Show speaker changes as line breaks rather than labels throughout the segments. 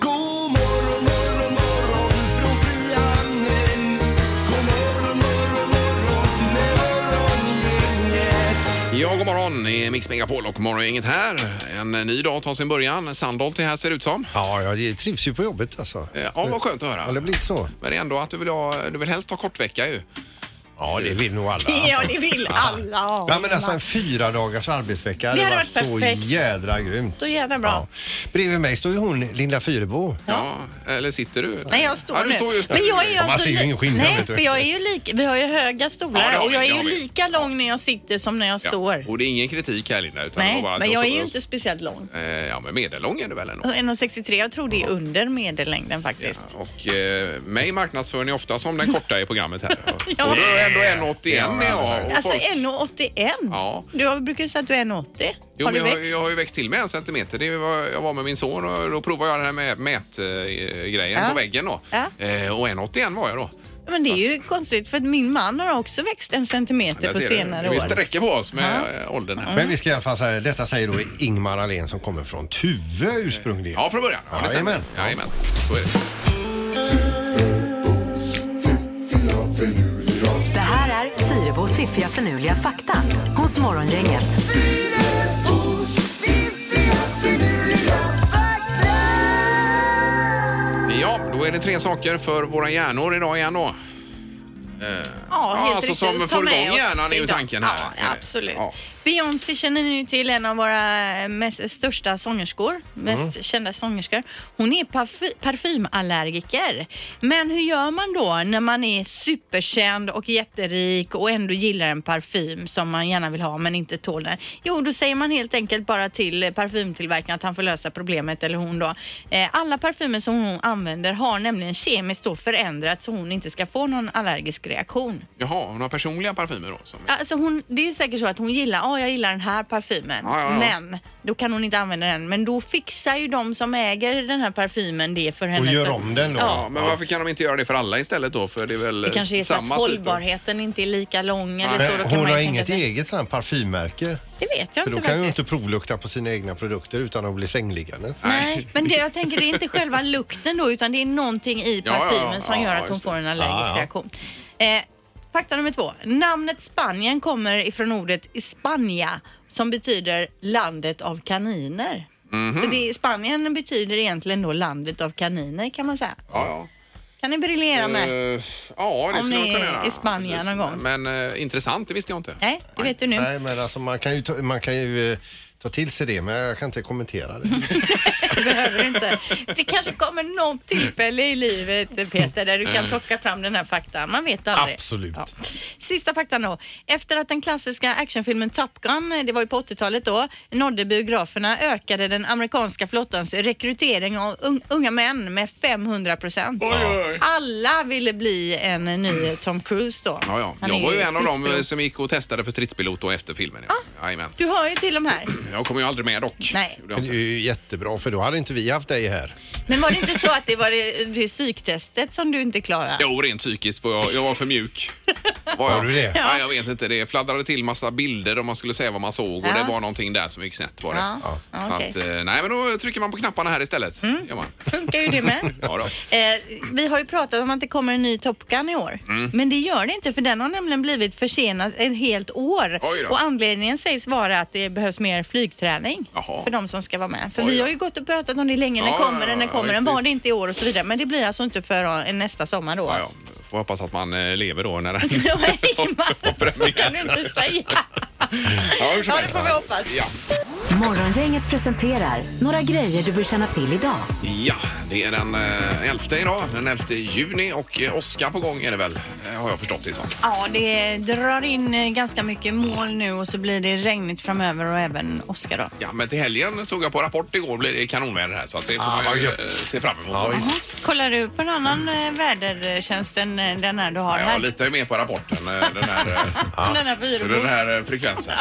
God morgon morgon morgon från Frihamnen. God morgon morgon morgon med morgongänget.
Ja, god morgon. Det är Mix Megapol och Morgongänget här. En ny dag tar sin början. Sandholt är här ser det ut som.
Ja, jag trivs ju på jobbet alltså.
Eh, Ja, vad skönt att höra.
Har det blivit så?
Men det är ändå att du vill, ha, du vill helst ha kortvecka ju.
Ja, det vill nog alla.
Ja, det vill alla ha.
Ja, men alltså en fyra dagars arbetsvecka
Det hade varit
så
perfekt.
jädra grymt.
Så jädra bra.
Bredvid mig står ju hon, Linda Fyrebo.
Ja. Eller sitter du?
Nej, jag står
ja,
nu.
du står just där.
men jag är
man
alltså
ser ju
li-
ingen skillnad,
Nej,
vet du.
för jag är ju lika, vi har ju höga
Ja, det
stolar
har
och
vi,
jag
det
är
har
ju
vi.
lång när jag sitter som när jag
Ja.
står.
Och det är ingen kritik här Linda. Utan det
Nej,
var bara att
men jag är
såg
ju
oss-
inte speciellt lång.
Eh, Ja, men medellång är du väl ändå?
1,63, jag tror det är under medellängden faktiskt.
Och eh, mig marknadsför ni ofta som den korta i programmet här.
Ja.
Och du är ändå 1,81 är jag. Och
Alltså
folk-
1,81.
Ja.
Du har- brukar ju säga att du är 1,80.
Jo,
har
men
du
jag, har-
växt?
jag har ju växt till mig en centimeter. Det var, jag var med min son och då provade jag den här med mätgrejen
Ja.
på väggen då.
Ja.
Eh, och 1,81 var jag då.
Men det är ju konstigt för att min man har också växt en centimeter
Där
på
ser du.
senare
Vi
år. Mm.
sträcker på oss med eh, åldern här.
Men vi ska i alla fall säga, detta säger då Ingmar Ahlén som kommer från Tuve ursprungligen.
Ja, från början. Ja, det stämmer.
Jajamän.
Jajamän. Så är det.
Det här är Fyrabos fiffiga förnuliga fakta hos Morgongänget.
Fyrabos fiffiga finurliga fakta.
Ja, då är det tre saker för våra hjärnor idag igen då.
Ja, helt
alltså
riktigt.
som
Ta
får
med
igång
oss
hjärnan är ju
idag.
tanken här.
Ja, absolut.
Ja.
Beyoncé känner ni ju till, en av våra eh, mest, största sångerskor, mest kända sångerskor. Hon är parfy, parfymallergiker. Men hur gör man då när man är superkänd och jätterik och ändå gillar en parfym som man gärna vill ha men inte tål den? Jo, då säger man helt enkelt bara till eh, parfymtillverkaren att han får lösa problemet, eller hon då. Eh, Alla parfymer som hon använder har nämligen kemiskt då förändrats så hon inte ska få någon allergisk reaktion.
Jaha, hon har personliga parfymer då? Som...
Alltså hon, det är säkert så att hon gillar, ja jag gillar den här parfymen.
Ja, ja, ja.
Men då kan hon inte använda den. Men då fixar ju de som äger den här parfymen det för henne.
Och gör
så-
om den då.
Ja, men varför kan de inte göra det för alla istället då? För det är väl
Det kanske är så att
samma typ av...
hållbarheten inte är lika lång eller
Nej.
så. Då kan
Hon
man ju
har
tänka
inget
sig-
eget sånt här parfymmärke.
Det vet jag
För då
inte
kan ju
faktiskt.
inte provlukta på sina egna produkter utan att bli sängliggandes.
Nej, men det, jag tänker det är inte själva lukten då utan det är någonting i
Ja, ja, ja,
parfymen som
ja,
gör att
just
hon får
det.
en allergisk
Ja, ja.
reaktion. Eh, fakta nummer två. Namnet Spanien kommer ifrån ordet Hispania som betyder landet av kaniner.
Mhm.
Så det, Spanien betyder egentligen då landet av kaniner kan man säga.
Ja,
Kan ni briljera
ja.
med?
Eh, ja, det
Om
skulle
ni
jag kunna
är
göra.
i Spanien
Precis.
någon gång.
Men eh, intressant, det visste jag inte.
Nej, det vet du nu.
Nej, men alltså man kan ju, ta, man kan ju eh, ta till sig det men jag kan inte kommentera det.
Det behöver du inte. Det kanske kommer något tillfälle i livet Peter där du
Mm.
kan plocka fram den här faktan. Man vet aldrig.
Absolut.
Ja. Sista faktan då. Efter att den klassiska actionfilmen Top Gun, eh, det var ju på 80-talet då, nådde biograferna ökade den amerikanska flottans rekrytering av un- unga män med 500 procent.
oj.
Alla ville bli en ny Tom Cruise då.
Ja, ja.
Han
Jag
är
var ju en av dem eh,
stridspilot. Ah.
som gick och testade för stridspilot då efter filmen. Ja. Jajamän.
Du hör ju till de här.
Jag kommer ju aldrig med dock.
Nej.
Gjorde jag
Men det
inte.
är ju jättebra för då hade inte vi haft dig här.
Men var det inte så att det var det, det psyktestet som du inte klarade?
Jo, rent psykiskt för jag, jag var för mjuk. Var, jag?
Var du det?
Ja, jag vet inte. Det fladdrade till massa bilder om man skulle säga vad man såg och
Ja.
det var någonting där som gick snett var det.
Ja. Ja.
Så
Okej. Mm.
att, eh, nej, men då trycker man på knapparna här istället. Gör man.
funkar ju det med.
Ja då.
Eh, vi har ju pratat om att det kommer en ny Top Gun i år.
Mm.
Men det gör det inte för den har nämligen blivit försenad ett helt år.
Oj då.
Och anledningen sägs vara att det behövs mer flygträning
Jaha.
för de som ska vara med. För
Oj
vi
då.
har ju gått och pratat om det länge. När
Ja,
kommer
ja,
den? När
ja,
kommer
visst,
den? Var
visst.
det inte i år och så vidare. Men det blir alltså inte för eh, nästa sommar då.
Ja, ja. Får hoppas att man eh, lever då när den...
Ja, hej, Marcus, så kan du inte säga.
Ja, hur som
Ja, det
helst.
får vi hoppas.
Ja.
Morgongänget presenterar några grejer du bör känna till idag.
ja, Det är den eh, 11 idag, den 11 juni och eh, åska på gång är det väl, eh, har jag förstått det som.
Ja, det drar in eh, ganska mycket moln nu och så blir det regnigt framöver och även åska då.
Ja, men till helgen såg jag på Rapport igår blir det kanonväder här så att det får man
Ah, vad
ju
gött.
eh, se fram emot.
Ja, visst.
Kollar du på en annan eh, vädertjänst än eh, den här du har
Ja,
här?
jag litar ju mer på rapporten, eh, den här, eh,
Den här
den
byrån.
här eh, frekvensen.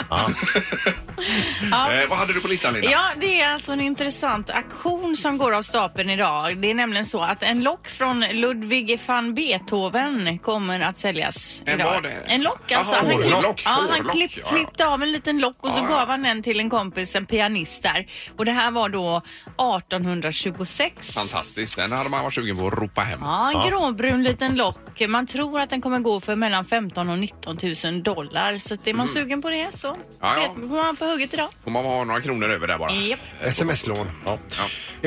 Ja.
Eh, vad hade du på listan, Linda?
Ja, det är alltså en intressant aktion som går av stapeln idag. Det är nämligen så att en lock från Ludwig van Beethoven kommer att säljas
En
idag.
vad?
En lock
Jaha,
alltså.
hårlock.
Ja, han
Hårlock,
klipp,
ja, ja.
klippte av en liten lock och så
Ja, ja.
gav han den till en kompis, en pianist där. Och det här var då 1826.
Fantastiskt, den hade man varit sugen på att ropa hem.
Ja, en gråbrun liten lock. Man tror att den kommer gå för mellan 15 000 och 19 000 dollar. Så att är man sugen på det så
Ja, ja.
vet- får man på hugget idag.
Får man ha några kronor över där bara?
Japp.
Sms-lån. Ja.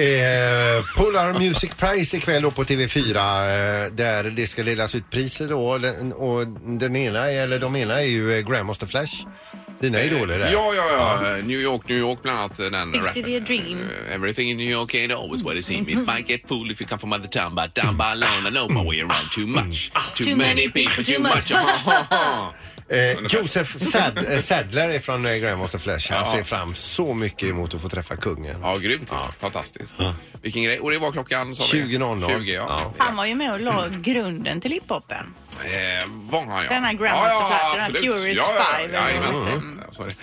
Eh, Polar Music Prize ikväll då på TV4 eh, där det ska delas ut priser då. Den, och den ena, är- eller de ena är ju eh, Grandmaster Flash. Dina idoler där.
Ja, ja, ja. New York, New York bland annat. eh, Den
Big
rappen.
City a dream.
Eh, Everything in New York ain't always what it seems. It might get full if you come from other town, but down by alone I know my way around too much. Too,
Too
many
many
people,
people,
too
too
much.
Eh, Joseph Sad, eh, Sadler är från eh, Grandmaster Flash. Han ser fram så mycket emot att få träffa kungen.
ja, grymt. Fantastiskt. Vilken grej. Och det var klockan? sa vi?
20.00.
20, ja.
Han var ju med och la grunden till hiphopen.
Eh, var han, ja.
Den här Grandmaster Flash, den här
absolut.
Furious Five, eller
jajamän.
vad det
Mm. Ja, så är det.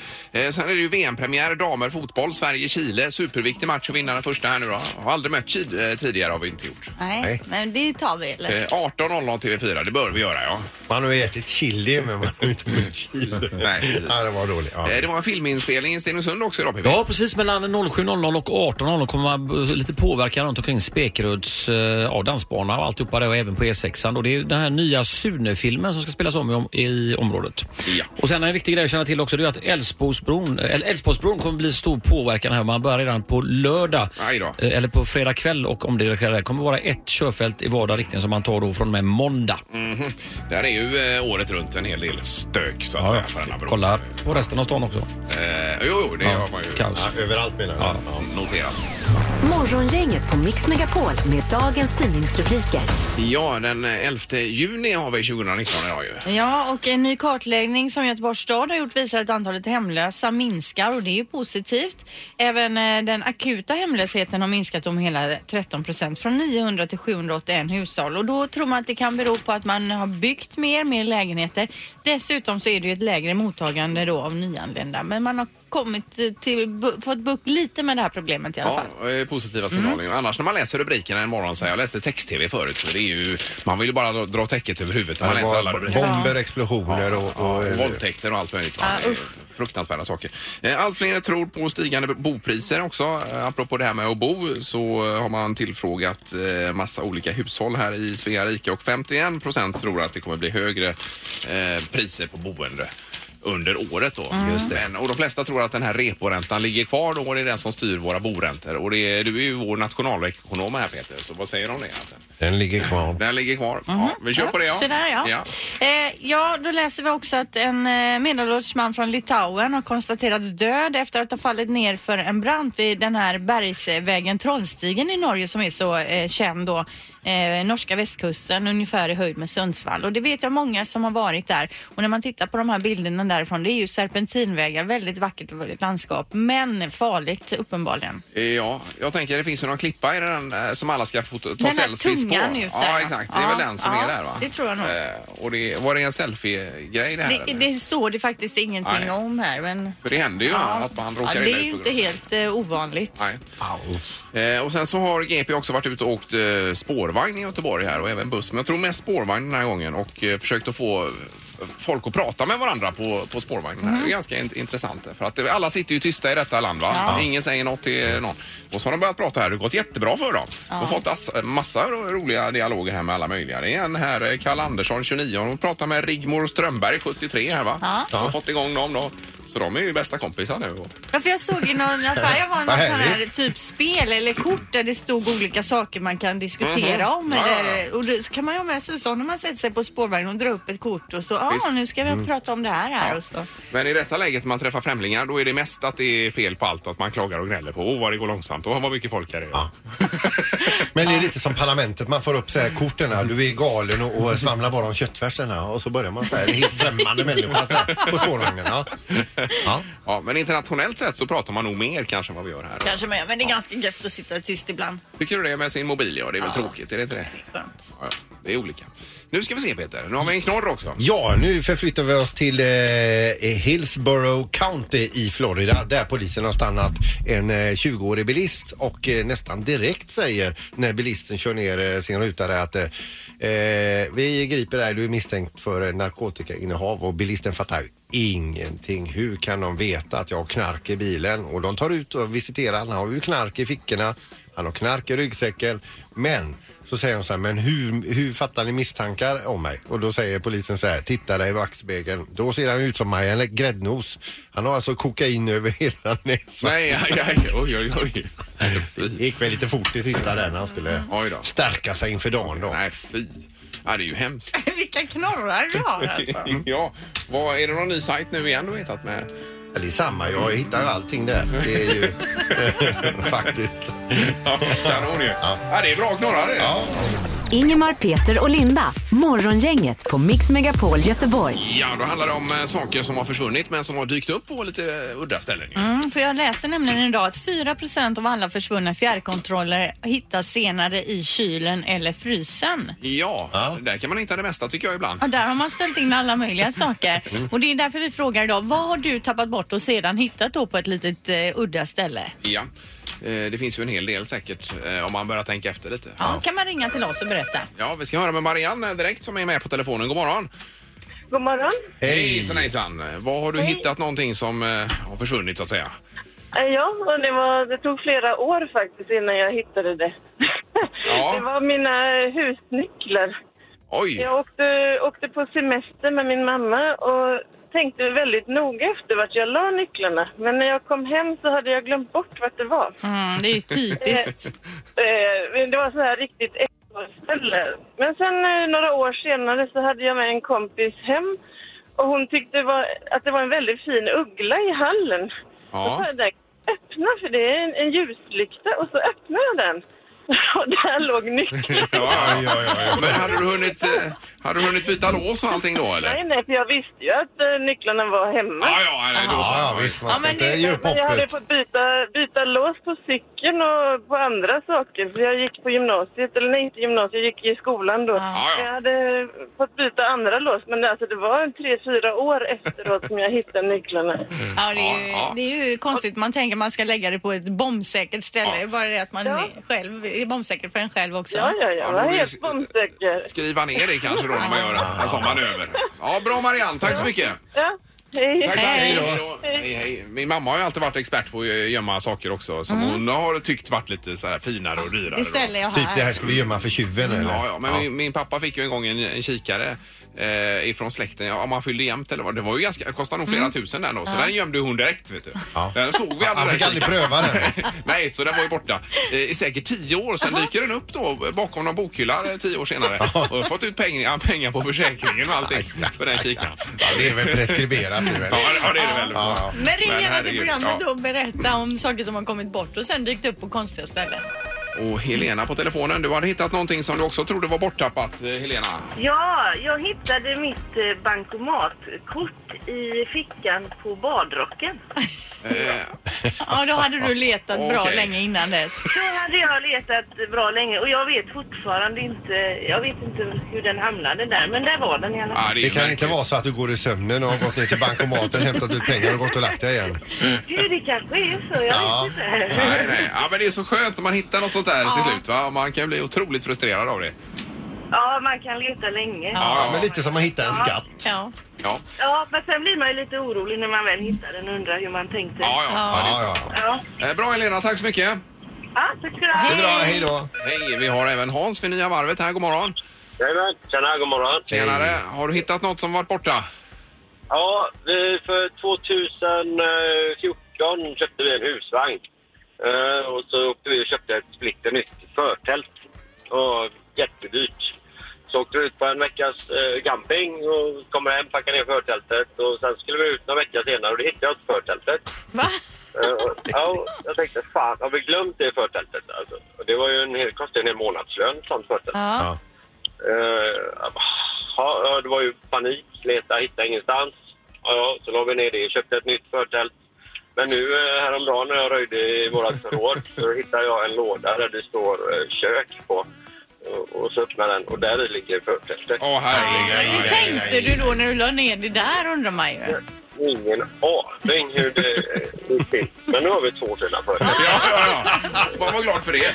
Eh, sen är det ju VM-premiär, damer, fotboll, Sverige-Chile. Superviktig match att vinna den första här nu då. Har aldrig mött Chile eh, tidigare har vi inte gjort.
Nej,
Nej.
men det tar vi eller?
Eh, 18.00 TV4, det bör vi göra ja.
Man har ju ätit chili men man har ju inte med chili.
Nej, precis.
ja, det var dåligt. Ja.
Eh, Det var en filminspelning i Stenungsund också idag, Pippi.
Ja, precis. Mellan 07.00 och 18.00 kommer man eh, lite påverka runt omkring Spekeruds eh, ja, dansbana och alltihopa där och även på E6. Och det är ju den här nya Sune-filmen som ska spelas om i, om i området.
Ja.
Och sen en viktig grej att känna till också det är att Älvsborgsbron, eller Älvsborgsbron kommer bli stor påverkan här. Man börjar redan på lördag,
Aj då.
eh, eller på fredag kväll och om det sker, det kommer vara ett körfält i vardera riktning som man tar då från och med måndag.
Mhm. Där är ju eh, året runt en hel del stök så att säga. På denna bron.
Kolla på resten av stan också.
Eh, jo, jo, det har man ju
Kaos.
Ja, överallt menar jag. Ja.
noterat.
Morgongänget på Mix Megapol med dagens tidningsrubriker.
Ja, den eh, 11 juni har vi 2019 idag ju.
Ja, och en ny kartläggning som Göteborgs stad har gjort visar att antalet hemlösa minskar och det är ju positivt. Även eh, den akuta hemlösheten har minskat om hela 13 procent, från 900 till 781 hushåll. Och då tror man att det kan bero på att man har byggt mer, mer lägenheter. Dessutom så är det ju ett lägre mottagande då av nyanlända, men man har kommit eh, till, bu- fått bukt lite med det här problemet i alla fall.
Ja, eh, positiva
Mm.
signaler. Annars när man läser rubrikerna en morgon så här, jag läste text-tv förut, så det är ju, man vill ju bara dra- dra täcket över huvudet när man
Det
läser alla
var
rubriker.
bomber, explosioner och...
Ja,
och,
och
eh,
våldtäkter och allt möjligt. va?
Ah,
Det är
usch.
Fruktansvärda saker. Eh, Allt fler tror på stigande bopriser också. Eh, Apropå det här med att bo så eh, har man tillfrågat eh, massa olika hushåll här i Svea rike och 51 procent tror att det kommer bli högre eh, priser på boende under året då.
Mm.
Just det. Men, och de flesta tror att den här reporäntan ligger kvar då och det är den som styr våra boräntor. Och det är, du är ju vår nationalekonom här Peter, så vad säger de om det? egentligen?
Den ligger kvar.
Den ligger kvar. Ja, vi kör på det ja.
Så där, Mhm. ja.
ja.
Eh, ja, då läser vi också att en eh, medelålders man från Litauen har konstaterats död efter att ha fallit ner för en brant vid den här bergsvägen Trollstigen i Norge som är så eh, känd då. Eh, norska västkusten ungefär i höjd med Sundsvall och det vet jag många som har varit där och när man tittar på de här bilderna därifrån det är ju serpentinvägar, väldigt vackert landskap men farligt uppenbarligen.
Eh, Ja, jag tänker det finns ju någon klippa i den eh, som alla ska fota, ta
Den här
selfies på.
tungan ut där,
Ja,
va?
exakt. Det är väl
Ja,
den som
ja,
är där va?
det tror jag nog.
Eh, Och det, var det en selfie-grej det här?
Det,
eller?
det står det faktiskt ingenting
Nej.
om här men
För det händer ju
Ja.
att man
ja,
råkar
det
illa
är ju
ut på
inte
grund av-
helt eh, ovanligt.
Nej. Eh, och sen så har GP också varit ute och åkt eh, spårvagn i Göteborg här och även buss. Men jag tror mest spårvagn den här gången och eh, försökt att få eh, folk att prata med varandra på, på spårvagnen. här. Det är ganska in- intressant för att det- alla sitter ju tysta i detta land va. Ingen säger något till någon. Och så har de börjat prata här. Det har gått jättebra för dem. De har fått ass- massa ro- roliga dialoger här med alla möjliga. Det är en här, eh, Karl Andersson 29, hon pratar med Rigmor Strömberg 73 här va.
Ja.
De har fått igång dem då. Så de är ju bästa kompisar nu. Och-
Ja, för jag såg i någon affär, jag var någon sån
Vad
här
härligt.
typ spel eller kort där det stod olika saker man kan diskutera om.
Mhm. Ja, ja,
Eller, och då, så kan man ju ha med sig så när man sätter sig på spårvagnen och drar upp ett kort och så, ja
Visst. Mm.
nu ska vi prata om det här här och så.
Men i detta läget när man träffar främlingar då är det mest att det är fel på allt. Att man klagar och gnäller på åh vad det går långsamt och vad mycket folk här är. Ja.
Men det är lite som parlamentet, man får upp så här korten här, du är galen och, och svamlar bara om köttfärserna och så börjar man så här, en helt främmande människa så här, på spårvagnen. Ja. Ja.
men internationellt sett så pratar man nog mer kanske än vad vi gör här.
Kanske med, men det är ganska gött att sitta tyst ibland.
Tycker du det med sin mobil? Ja, det är väl tråkigt, är det inte det?
Skönt.
Ja, ja. det är olika. Nu ska vi se Peter, nu har vi en knorr också.
Ja, nu förflyttar vi oss till eh, Hillsborough County i Florida där polisen har stannat en eh, 20-årig bilist och eh, nästan direkt säger när bilisten kör ner eh, sin ruta där att eh, eh, vi griper dig, du är misstänkt för eh, narkotikainnehav och bilisten fattar ju ingenting. Hur kan de veta att jag har knark i bilen? Och de tar ut och visiterar, han har ju knark i fickorna, han har knark i ryggsäcken, men så säger de så här, men hur, hur fattar ni misstankar om mig? Och då säger polisen så här, titta dig i backspegeln. Då ser han ut som Maja Gräddnos. Han har alltså kokain över hela näsan.
Nej, aj, aj, oj, oj, oj.
Det gick väl lite fort i sista där när han skulle
Mm, Oj då.
stärka sig inför dagen då.
Nej, fy. Ja, det är ju hemskt.
Vilka knorrar du har alltså.
Ja, vad, är det någon ny sajt nu igen du har hittat med?
Eller samma, jag hittar ju allting där. Det är ju faktiskt.
Ja, kanon ju. Ja. det är bra knorrar det. Ja.
Ingemar, Peter och Linda. Morgongänget på Mix Megapol Göteborg.
ja, då handlar det om eh, saker som har försvunnit men som har dykt upp på lite eh, udda ställen. ju.
Mm, för jag läser nämligen idag att 4 av alla försvunna fjärrkontroller hittas senare i kylen eller frysen.
Ja, där kan man hitta det mesta tycker jag ibland.
Ja, där har man ställt in alla möjliga saker. Och det är därför vi frågar idag, vad har du tappat bort och sedan hittat då på ett litet eh, udda ställe?
Ja. Eh, Det finns ju en hel del säkert eh, om man börjar tänka efter lite.
Ja, kan man ringa till oss och berätta.
Ja, vi ska höra med Marianne eh, direkt som är med på telefonen. God morgon!
God morgon.
Hej hejsan! Vad har du hittat någonting som eh, har försvunnit så att säga?
Eh, Ja, och det, var, det tog flera år faktiskt innan jag hittade det.
Ja.
Det var mina husnycklar.
Oj!
Jag åkte, åkte på semester med min mamma och tänkte väldigt noga efter vart jag la nycklarna. Men när jag kom hem så hade jag glömt bort vart det var.
Mm, det är ju typiskt.
Eh, men Det var så här riktigt ställe. Men sen eh, några år senare så hade jag med en kompis hem och hon tyckte det var, att det var en väldigt fin uggla i hallen.
Ja.
Då sa jag direkt, öppna för det är en, en ljuslykta och så öppnade jag den. Och där låg nyckeln.
Ja, ja, ja, ja. Men hade du, hunnit, eh, hade du hunnit byta lås och allting då eller?
Nej, nej, för jag visste ju att eh, nycklarna var hemma.
Ja, ja, nej, då så.
Ja, visst, man
Ja,
ska
men
inte
det-
ge upp
Men jag hade
hoppet.
fått byta, byta lås på cykeln och på andra saker. För jag gick på gymnasiet, eller nej inte gymnasiet, jag gick i skolan då.
Ja.
Ah. ja.
Jag hade fått byta andra lås men alltså, det var en tre, fyra år efteråt som jag hittade nycklarna.
Ja, det, är ju,
Ja, ja.
det är ju konstigt. Man tänker man ska lägga det på ett bombsäkert ställe.
Ja.
Det är bara det att man
Ja.
är själv är bombsäker för en själv också.
Ja, ja,
Ja,
jag
men
var
det-
helt bombsäker.
Skriva ner det kanske då när man gör en- en sån manöver. Ja, bra Marianne, tack så mycket.
Ja, hej.
Tack, tack.
Hej.
Hej då. Hej, hej. Min mamma har ju alltid varit expert på att gömma saker också som hon har tyckt varit lite så här finare och dyrare.
Det
då.
ställer jag
Typ det
här.
här ska vi gömma för tjuven eller?
Ja, ja, men Min, min pappa fick ju en gång en, en kikare eh, ifrån släkten. Ja, om han fyllde jämt eller vad. Det var ju ganska, kostade nog flera tusen den då. Så den gömde hon direkt vet du.
Mm. Ja.
Den såg vi aldrig.
Han
den
fick aldrig
kikaren.
pröva den.
Nej, så den var ju borta eh, i säkert tio år. Sen dyker den upp då bakom någon bokhylla eh, tio år senare och fått ut pengar, pengar på försäkringen och allting för den kikaren.
Ja, det är väl preskriberat nu eller?
Ja, det- ja, det är det väl.
Ja, ja.
Men ring gärna till
herregud,
programmet
ja.
och berätta om saker som har kommit bort och sen dykt upp på konstiga ställen.
Och Helena på telefonen, du hade hittat någonting som du också trodde var borttappat, eh, Helena.
Ja, jag hittade mitt eh, bankomatkort i fickan på badrocken.
Ja, då hade du letat bra
Okej.
länge innan dess.
Så hade jag letat bra länge och jag vet fortfarande inte, jag vet inte hur den hamnade där, men där var den i alla fall.
Ja, är
Det kan
märkligt.
inte vara så att du går i sömnen och har gått ner till bankomaten, hämtat ut pengar och gått och lagt dig igen.
Du, det kanske är så. Jag
Ja.
vet inte.
Nej, nej. Ja, men det är så skönt när man hittar något sånt där till slut. Va? Man kan bli otroligt frustrerad av det.
Ja, man kan leta länge. Ja.
Ja, men lite som man hittar en skatt.
Ja.
Ja,
men sen blir man ju lite orolig när man väl hittar den och undrar hur man tänkte.
ja, ja. ja. det är
Ja, ja.
Ja,
så. Eh, Bra Helena, tack så mycket.
ja tack ska du ha.
Det är bra, hej då.
Hej, vi har även Hans vid Nya Varvet här. God morgon.
Jajamän, tjena, god morgon.
Tjenare. Har du hittat något som varit borta?
Ja, vi för 2014 köpte vi en husvagn. Eh, och så åkte vi och köpte ett splitter nytt förtält. Och jättedyrt. Så åkte vi ut på en veckas eh, camping och kom hem, packade ner förtältet. Och sen skulle vi ut någon vecka senare och då hittade jag inte förtältet.
Va?
Eh, och, ja, jag tänkte fan, har vi glömt det förtältet? Alltså, och det var ju en hel, kostade en hel månadslön, ett sånt förtält.
Ja.
Eh, jag bara, ja, ja, det var ju panik, leta, hitta ingenstans. Ja, ja, så la vi ner det, köpte ett nytt förtält. Men nu eh, häromdagen när jag röjde i vårat förråd så hittade jag en låda där det står eh, kök på. Och- Och så öppnade den och där i ligger förtältet.
Åh herregud.
Hur tänkte du då när du la ner det där undrar man ju.
Ingen aning hur det eh, gick till. Men nu har vi två fina förtält.
Ja, ja, ja. Man var glad för det.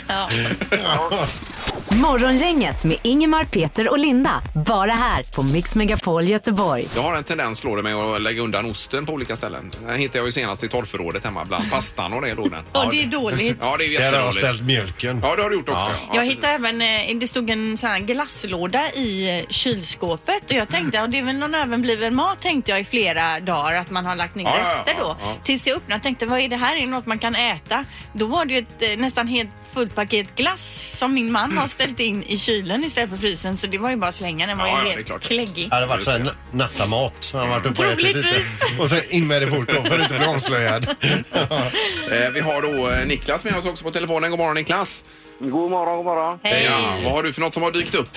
Morgongänget med Ingemar, Peter och Linda. Bara här på Mix Megapol Göteborg.
Jag har en tendens, slår det mig, att lägga undan osten på olika ställen. Den hittade jag ju senast i torrförrådet hemma bland pastan och det låg den.
Och det är dåligt.
Ja, det är
Där har jag
jättedåligt.
ställt mjölken.
Ja, det har du gjort också.
Ja.
Ja.
Jag hittade även, eh, det stod en sån här glasslåda i eh, kylskåpet och jag tänkte, ja, det är väl någon överbliven mat tänkte jag i flera dagar att man har lagt ner
Ja, ja, ja,
rester då.
ja.
Tills jag öppnade och tänkte, vad är det här? Är det något man kan äta? Då var det ju ett eh, nästan helt fullt paket glass som min man har ställt in i kylen istället för frysen så det var ju bara att slänga, den var
Ja, ja,
ju
det är
helt
klart.
kläggig.
Det hade varit såhär nattamat. Han har varit uppe och ätit lite.
Troligtvis.
Och sen in med det fort då för att inte bli avslöjad.
Eh, Vi har då eh, Niklas med oss också på telefonen. God morgon Niklas.
God morgon, god morgon.
Hej!
Ja, vad har du för något som har dykt upp?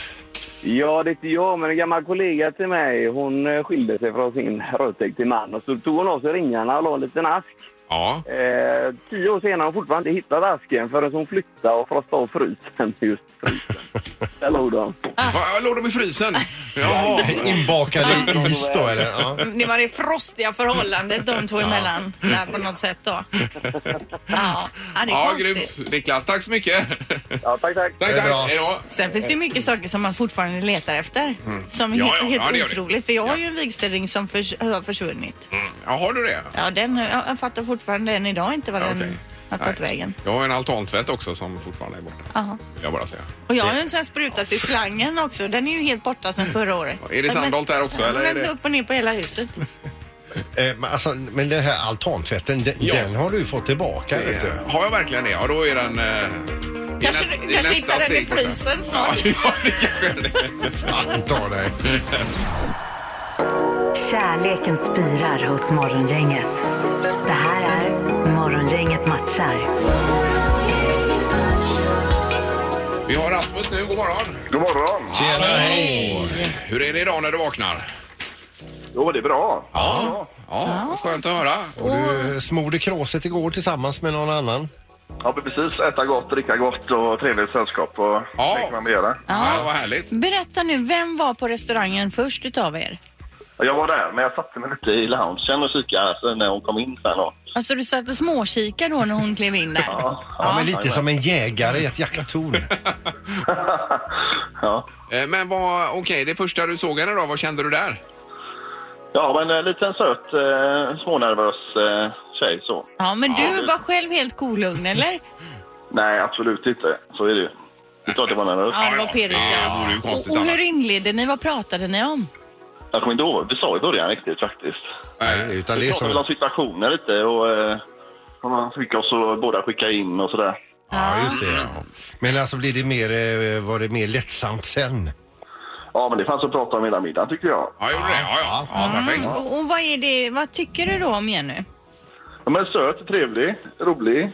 Ja, det är inte jag, men en gammal kollega till mig. Hon eh, skilde sig från sin rödtäckte man och så tog hon av sig ringarna och la en liten ask.
Ja,
Eh, tio år senare har hon fortfarande inte hittat asken förrän hon flyttade och frostade av frysen. Just frysen. Där låg de.
Ah. Va, låg de i frysen? Jaha.
Inbakad i is då eller? Ja.
Det var det frostiga förhållandet de två emellan där på något sätt då. Ja, ja det är
Ja,
konstigt.
grymt. Niklas, tack så mycket.
Ja, tack, tack.
Tack,
Det är
tack.
bra.
Hej då.
Sen finns det ju mycket saker som man fortfarande letar efter. Som är
Mm. Ja,
helt,
ja, ja,
helt
det gör det.
otroligt. För jag har
Ja. Mm.
ju en vigselring som förs har försvunnit.
Ja, har du det?
Ja, den, jag, jag fattar fortfarande än idag inte vad
Ja,
den
okej.
har tagit vägen.
Jag har en altantvätt också som fortfarande är borta.
Aha.
vill Jag bara säga.
Och jag har ju en sån här sprutat i slangen också. Den är ju helt borta sedan förra året.
Är det Sandholt där också, eller är
Eller
det-
upp och ner på hela huset.
Eh, men alltså, men den här altantvätten, den,
Ja.
den har du fått tillbaka vet du.
Eh, Har jag verkligen det? Ja, då är den... eh, det är
Kanske-
näst- det är nästa
kanske hittar den i
steg på
frysen
Ja,
snart.
ja, det kanske är det.
Fan ta dig.
Kärleken spirar hos Morgongänget. Det här är Morgongänget matchar.
Vi har Rasmus nu. God morgon.
God morgon.
Tjena, hej!
Hur är det idag när du vaknar?
Jo, det är bra.
Ja. Ja, skönt att höra.
Och du smorde kråset igår tillsammans med någon annan.
Ja, precis. Äta gott, dricka gott och trevligt sällskap. Och
Ja.
det kan man göra.
Ja, vad härligt.
Berätta nu, vem var på restaurangen först utav er?
Jag var där, men jag satte mig lite i loungen och kikade alltså, när hon kom in sen. då.
Alltså du satt och småkikade då när hon klev in där?
Ja,
Ja, men lite som en jägare i ett jakttorn.
ja.
Eh, Men vad, okej, det första du såg henne då, vad kände du där?
ja, men eh, lite en söt, eh, smånervös eh, tjej så.
Ja, men du var själv helt kolugn eller?
Nej, absolut inte. Så är det ju. Det är klart jag var nervös.
Ja, det var pirrigt.
Ja, det
Ja.
vore ju konstigt
Och, och hur
annars.
inledde ni? Vad pratade ni om?
Jag kommer inte ihåg vad vi sa i början riktigt faktiskt.
Eh,
Nej, Utan det
Vi
är
pratade väl
som...
om situationer lite och eh, vad man fick oss att båda skicka in och sådär.
Ja, just det. Ja. Men alltså blir det mer, eh, var det mer lättsamt sen?
Ja, men det fanns att prata om hela middagen tycker jag.
Ja, gjorde det? Ja, ja.
Ah.
ja perfekt.
Och, och vad, är det, vad tycker du då om Jenny?
Ja, men söt, trevlig, rolig.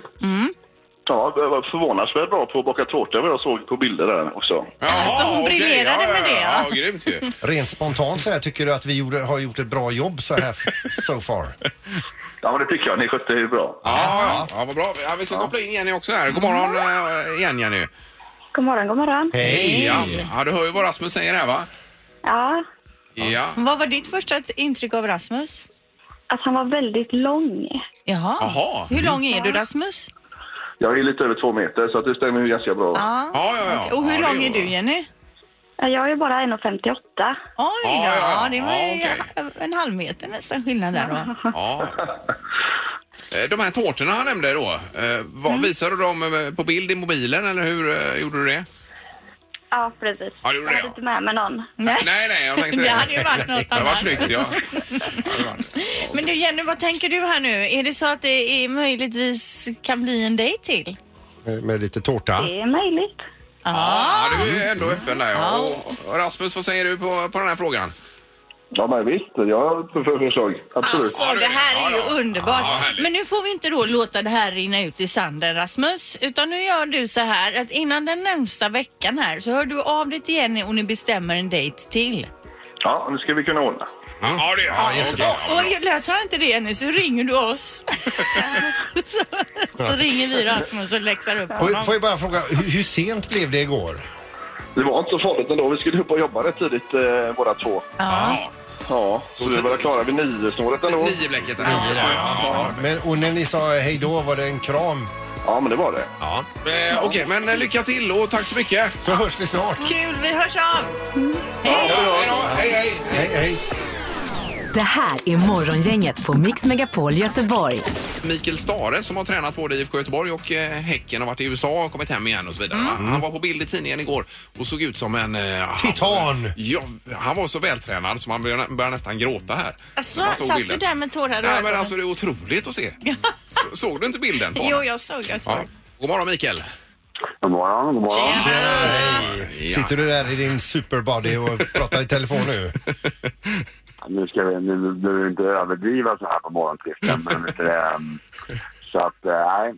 Ja, jag var förvånansvärt bra på att baka tårta vad jag såg på bilder där också.
Jaha,
Alltså, hon
okej.
briljerade
ja,
med
ja,
det,
Ja,
ja.
ja grymt ju.
Rent spontant så här, tycker du att vi gjorde, har gjort ett bra jobb så här f- so far?
Ja, men det tycker jag. Ni skötte er bra.
Ja, ja, vad bra. Ja, vi ska koppla in Jenny också här. God morgon
Mm.
eh, igen Jenny.
God morgon, god morgon.
Hej!
Ja, ja, du hör ju vad Rasmus säger här va?
Ja,
Ja.
Vad var ditt första intryck av Rasmus?
att han var väldigt lång.
Jaha.
Jaha. Mm.
Hur lång är du Rasmus?
Jag är lite över två meter, så att det stämmer ju ganska bra.
Ja.
Ja, ja, ja.
Och hur
ja, det
lång är
var-
du Jenny?
Jag är bara 1,58.
Oj då,
Ja, ja, ja.
det var ju
Ja,
en halv meter nästan skillnad där då.
Ja. Eh, De här tårtorna han nämnde
Mm.
då, eh, vad, visade du dem eh, på bild i mobilen eller hur eh, gjorde du det?
Ja, precis.
Ja, det gjorde
jag hade
jag.
inte med mig någon.
Nej, nej, jag tänkte
Det hade ju varit något
Det var
annars.
snyggt, ja.
Men du Jenny, vad tänker du här nu? Är det så att det är möjligtvis kan bli en dejt till?
Med, med lite tårta.
är möjligt.
Ja, du är ändå öppen där. Ja. Och- Och Rasmus, vad säger du på, på den här frågan?
Ja, men visst. Jag har för förslag. Absolut.
Så Alltså, det här är ju underbart.
Ja, härligt.
Men nu får vi inte då låta det här rinna ut i sanden Rasmus. Utan nu gör du så här att innan den närmsta veckan här så hör du av dig till Jenny och ni bestämmer en dejt till.
Ja, nu ska vi kunna ordna.
Ja, det är ja,
Och löser han inte det Jenny så ringer du oss. så, så ringer vi Rasmus och läxar upp
Får,
honom.
får jag bara fråga, hur, hur sent blev det igår?
Det var inte så farligt ändå. Vi skulle upp och jobba rätt tidigt eh, båda två.
Ja.
Ja, så vi var klara vid niosnåret ändå.
Nioblecket där.
Ja, Men, och när ni sa hej då, var det en kram?
Ja, men det var det.
Ja.
Eh, Okej, men eh, lycka till och tack så mycket.
Så hörs vi snart.
Kul, vi hörs av!
Hej då! Hej, hej!
Hej, hej!
Det här är Morgongänget på Mix Megapol Göteborg.
Mikael Stare som har tränat både IFK Göteborg och eh, Häcken och varit i USA och kommit hem igen och så vidare. va? Han var på bild i tidningen igår och såg ut som en... eh,
Titan!
Ja, han var så vältränad så man började, började nästan gråta här.
Alltså,
Man såg
satt
bilden.
du där med tårar och
Nej, men
ögonen?
alltså det är otroligt att se. Så, såg du inte bilden på
Jo, jag såg, jag såg.
Ja. God morgon Mikael!
God morgon, god morgon.
Sitter du där i din superbody och pratar i telefon nu?
Nu ska vi nu, nu vill vi inte överdriva så här på morgonkvisten, men vet du, det, ehm, så att eh, nej,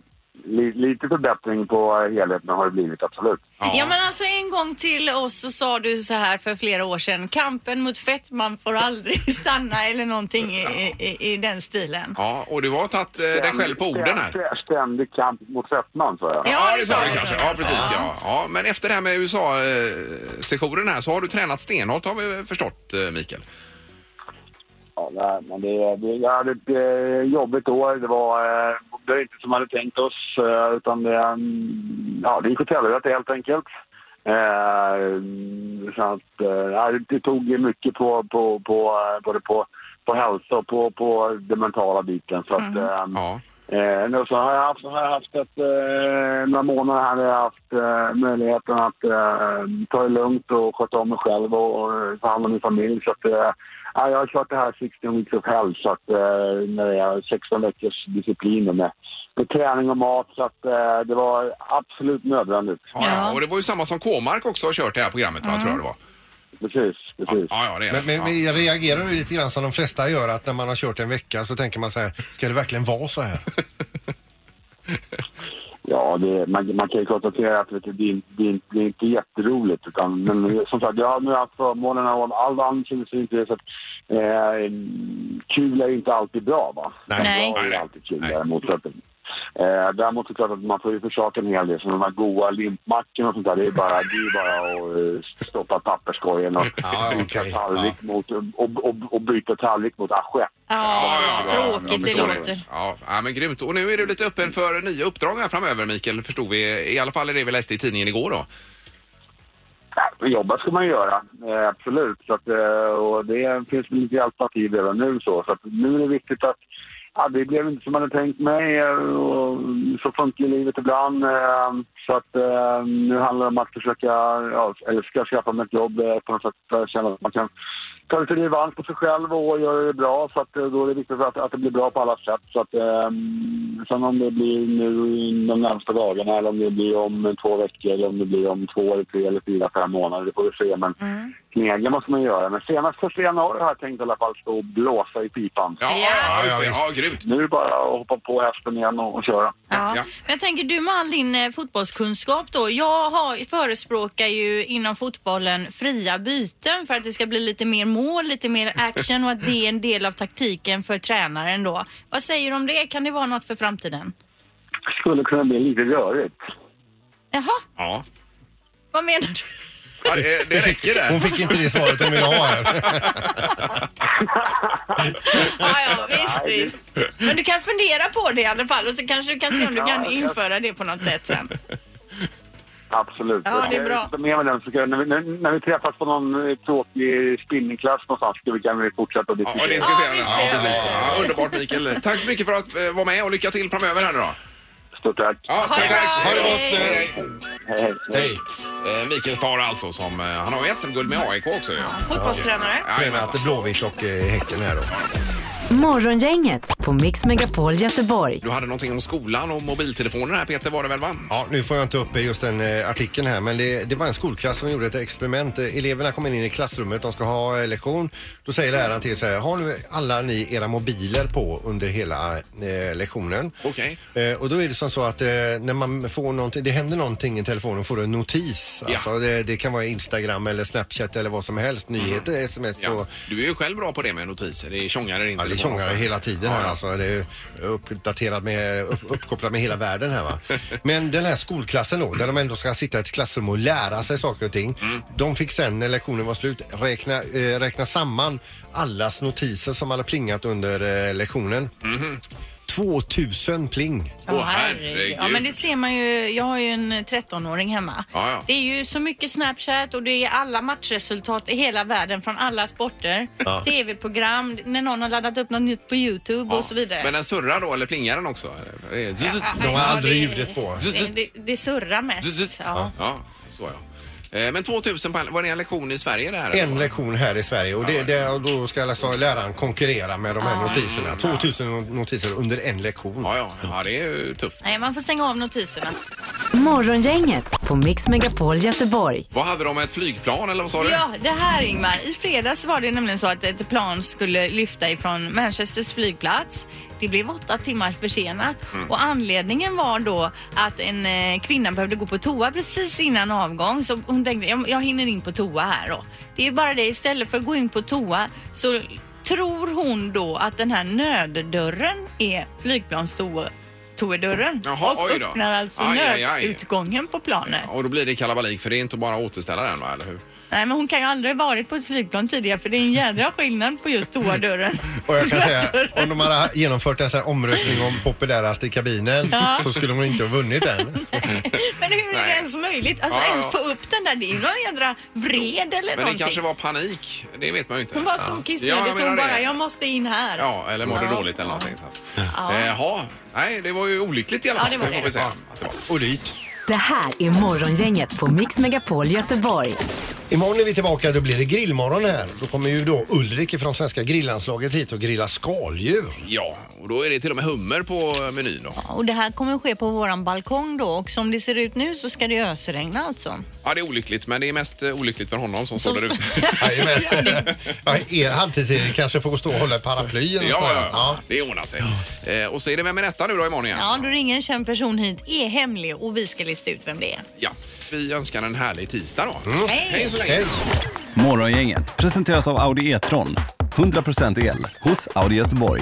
li, lite förbättring på helheten har det blivit, absolut.
Ja men alltså en gång till oss så sa du så här för flera år sedan. Kampen mot fettman får aldrig stanna eller någonting i, i, i den stilen.
Ja, och du har tagit eh, dig själv på orden här.
Stä- Ständig kamp mot sötman, sa jag.
Ja, det sa du kanske. Ja, precis. Ja. Ja, men efter det här med USA-sessionen här så har du tränat stenhårt har vi förstått, eh, Mikael.
Ja, nej, men det, det, jag hade ett eh, jobbigt år. Det var, eh, det var inte som man hade tänkt oss. Eh, utan det, mm, ja, det gick åt helvete helt enkelt. Eh, så att, eh, ja, det- det tog mycket på, på, på, eh, både på, på hälsa och på, på den mentala biten. Så att, eh, Eh, nu så har jag haft, har jag haft ett, eh, några månader här där jag har haft eh, möjligheten att eh, ta det lugnt och sköta om mig själv och, och ta hand om min familj. Så att, eh, ja, jag har kört det här 16 weeks of hell, så att, eh, när det är 16 veckors discipliner med, med träning och mat. Så att, eh, det var absolut nödvändigt.
Ja, ja. Och det var ju samma som K-Mark också har kört det här programmet, va, tror jag det var.
Precis, precis.
Ja, ja, det är det.
Men, men, men jag reagerar ju lite grann som de flesta gör att när man har kört en vecka så tänker man så här, ska det verkligen vara så här?
Ja, det, man, man kan ju konstatera att vet du, det, är- det, är- det är inte jätteroligt. Utan, men som sagt, jag har nu haft förmånen av all anslutning till det. Så att, eh, kul är ju inte alltid bra, va?
Nej.
Bra är ju alltid kul däremot. Så att, eh, däremot så är det klart att man får ju försaka en hel del. Så de här goa limpmackorna och sånt där, det är bara, det är bara att eh, stoppa papperskorgen och byta tallrik mot, och, och, och byta tallrik mot assiett.
Ja,
ja,
tråkigt
jag
det
förstår
låter.
Ja, ja, men grymt. Och nu är du lite öppen för nya uppdrag här framöver, Mikael, förstod vi. I alla fall är det vi läste i tidningen igår då.
Ja, Jobba ska man göra, eh, absolut. Så att, eh, och det finns väl lite alternativ redan nu. Så, så att nu är det viktigt att ja, det blev inte som man hade tänkt mig. eh, Och så funkar ju livet ibland. eh, Så att, eh, nu handlar det om att försöka, ja, eller ska jag skaffa mig ett jobb eh, på något sätt för att känna att man kan ta lite revansch på sig själv och göra det bra. Så att, eh, då är det viktigt att, att det blir bra på alla sätt. Så att, eh, sen om det blir nu i de närmsta dagarna eller om det blir om två veckor eller om det blir om två eller tre eller fyra, fem månader, det får vi se. Men knega måste man göra. Men senast första januari har jag tänkt i alla fall stå och blåsa i pipan.
Ja, ja, just det. Ja, grymt.
Nu är det bara att hoppa på hästen igen och, och köra.
Ja. Men jag tänker du med all din eh, fotbollskunskap då. Jag har, förespråkar ju inom fotbollen fria byten för att det ska bli lite mer mål, lite mer action och att det är en del av taktiken för tränaren då. Vad säger du om det? Kan det vara något för framtiden?
Skulle kunna bli lite rörigt.
Jaha,
Ja.
vad menar du?
Ja, det, det räcker där.
Hon fick inte det svaret hon ville ha här.
Ja, visst, visst. Men du kan fundera på det i alla fall och så kanske du kan se om du kan införa det på något sätt sen.
Absolut.
Ja, det är bra.
Jag tar med mig den. Så kan, när, vi, när, när vi träffas på någon eh, tråkig spinningklass någonstans så kan vi fortsätta att
Ja,
diskutera.
och diskutera det. Ja, precis. Ja, underbart, Mikael. Tack så mycket för att eh, vara med och lycka till framöver här nu då.
Stort tack. eh,
Ja, tack, tack. Ha det gott.
Hej.
Eh, Mikael Stahre alltså som, eh, han har ju SM-guld med AIK också ju.
Fotbollstränare.
Jajamensan.
Tränat Blåvitt och eh, Häcken här då.
Morgongänget på Mix Megapol Göteborg.
Du hade någonting om skolan och mobiltelefoner här Peter var det väl va?
Ja, nu får jag inte upp just den eh, artikeln här, men det, det var en skolklass som gjorde ett experiment. Eh, Eleverna kom in i klassrummet, de ska ha eh, lektion. Då säger läraren till så här, har nu alla ni era mobiler på under hela eh, lektionen?
Okej.
Eh, och då är det som så att eh, när man får någonting, det händer någonting i telefonen får du en notis.
Ja.
Alltså, det, det kan vara Instagram eller Snapchat eller vad som helst, nyheter, sms och
Ja. Du är ju själv bra på det med notiser. Det tjongar i din
Ja, det
telefon
tjongar
också.
hela tiden här alltså. Det är uppdaterat med, upp, uppkopplat med hela världen här va. Men den här skolklassen då, där de ändå ska sitta i ett klassrum och lära sig saker och ting. De fick sen när lektionen var slut räkna, eh, räkna samman allas notiser som hade plingat under eh, lektionen. 2000 pling.
Åh, herregud. Ja, men det ser man ju. Jag har ju en 13-åring hemma.
Ja, ja.
Det är ju så mycket Snapchat och det är alla matchresultat i hela världen från alla sporter.
Ja.
TV-program, när någon har laddat upp något nytt på YouTube och så vidare.
Men den surrar då eller plingar den också? Det är-
De har aldrig Ja, det-
ljudet på.
det, det, det surrar mest. Ja.
Ja, så ja. Eh, Men 2000 på all- var det en lektion i Sverige det här? eller?
En lektion här i Sverige och det, det, och då ska alltså läraren konkurrera med de här notiserna. 2000 notiser under en lektion.
Mm.
Ja, ja, ja det är ju tufft.
Nej, man får stänga av notiserna.
Morgongänget på Mix Megapol Göteborg.
Vad hade de, ett flygplan eller vad sa du?
Ja, det här Ingmar. I fredags var det nämligen så att ett plan skulle lyfta ifrån Manchesters flygplats. Det blev åtta timmar försenat
Mm.
och anledningen var då att en eh, kvinna behövde gå på toa precis innan avgång så hon tänkte jag, jag hinner in på toa här då. Det är ju bara det istället för att gå in på toa så tror hon då att den här nöddörren är flygplanstoedörren
Jaha,
och
oj då.
öppnar alltså
Aj, aj, aj.
nödutgången på planet.
Och då blir det kalabalik för det är inte bara att återställa den va, eller hur?
Nej, men hon kan ju aldrig ha varit på ett flygplan tidigare för det är en jädra skillnad på just toadörren.
Och jag kan säga, om de hade genomfört en sån här omröstning om populärast i kabinen
Ja.
så skulle hon inte ha vunnit den.
Men hur är det
Nej.
ens möjligt? Alltså
Ja, ja,
ens
ja.
få upp den där, det är ju någon jädra vred
Men
eller
det
någonting.
kanske var panik, det vet man ju inte.
Hon var
Ja.
så
Ja,
kissnödig
jag
så hon
menar det.
bara, jag måste in här.
Ja, eller mådde
Ja.
dåligt eller någonting. Så. att-
Ja.
Eh, Jaha, nej det var ju olyckligt i alla
Ja,
fall.
det var det.
får vi säga att det var.
Och dyrt.
Det här är Morgongänget på Mix Megapol Göteborg.
Imorgon är vi tillbaka, då blir det grillmorgon här. Då kommer ju då Ulrik från svenska grillanslaget hit och grilla skaldjur.
Ja, och då är det till och med hummer på menyn då.
Och det här kommer att ske på våran balkong då och som det ser ut nu så ska det ösregna alltså.
Ja, det är olyckligt, men det är mest eh, olyckligt för honom som står där ute.
Ja, er halvtids kanske får stå och hålla paraplyen
Ja,
och
ja,
sådär.
ja, det ordnar sig. Eh, och så är det Vem är detta nu då imorgon igen?
Ja, då ringer en känd person hit, är hemlig och vi ska lista ut vem det är.
Ja, vi önskar en härlig tisdag då.
Hej.
Hej så länge.
Morgongänget presenteras av Audi E-tron. 100% el hos Audi Göteborg.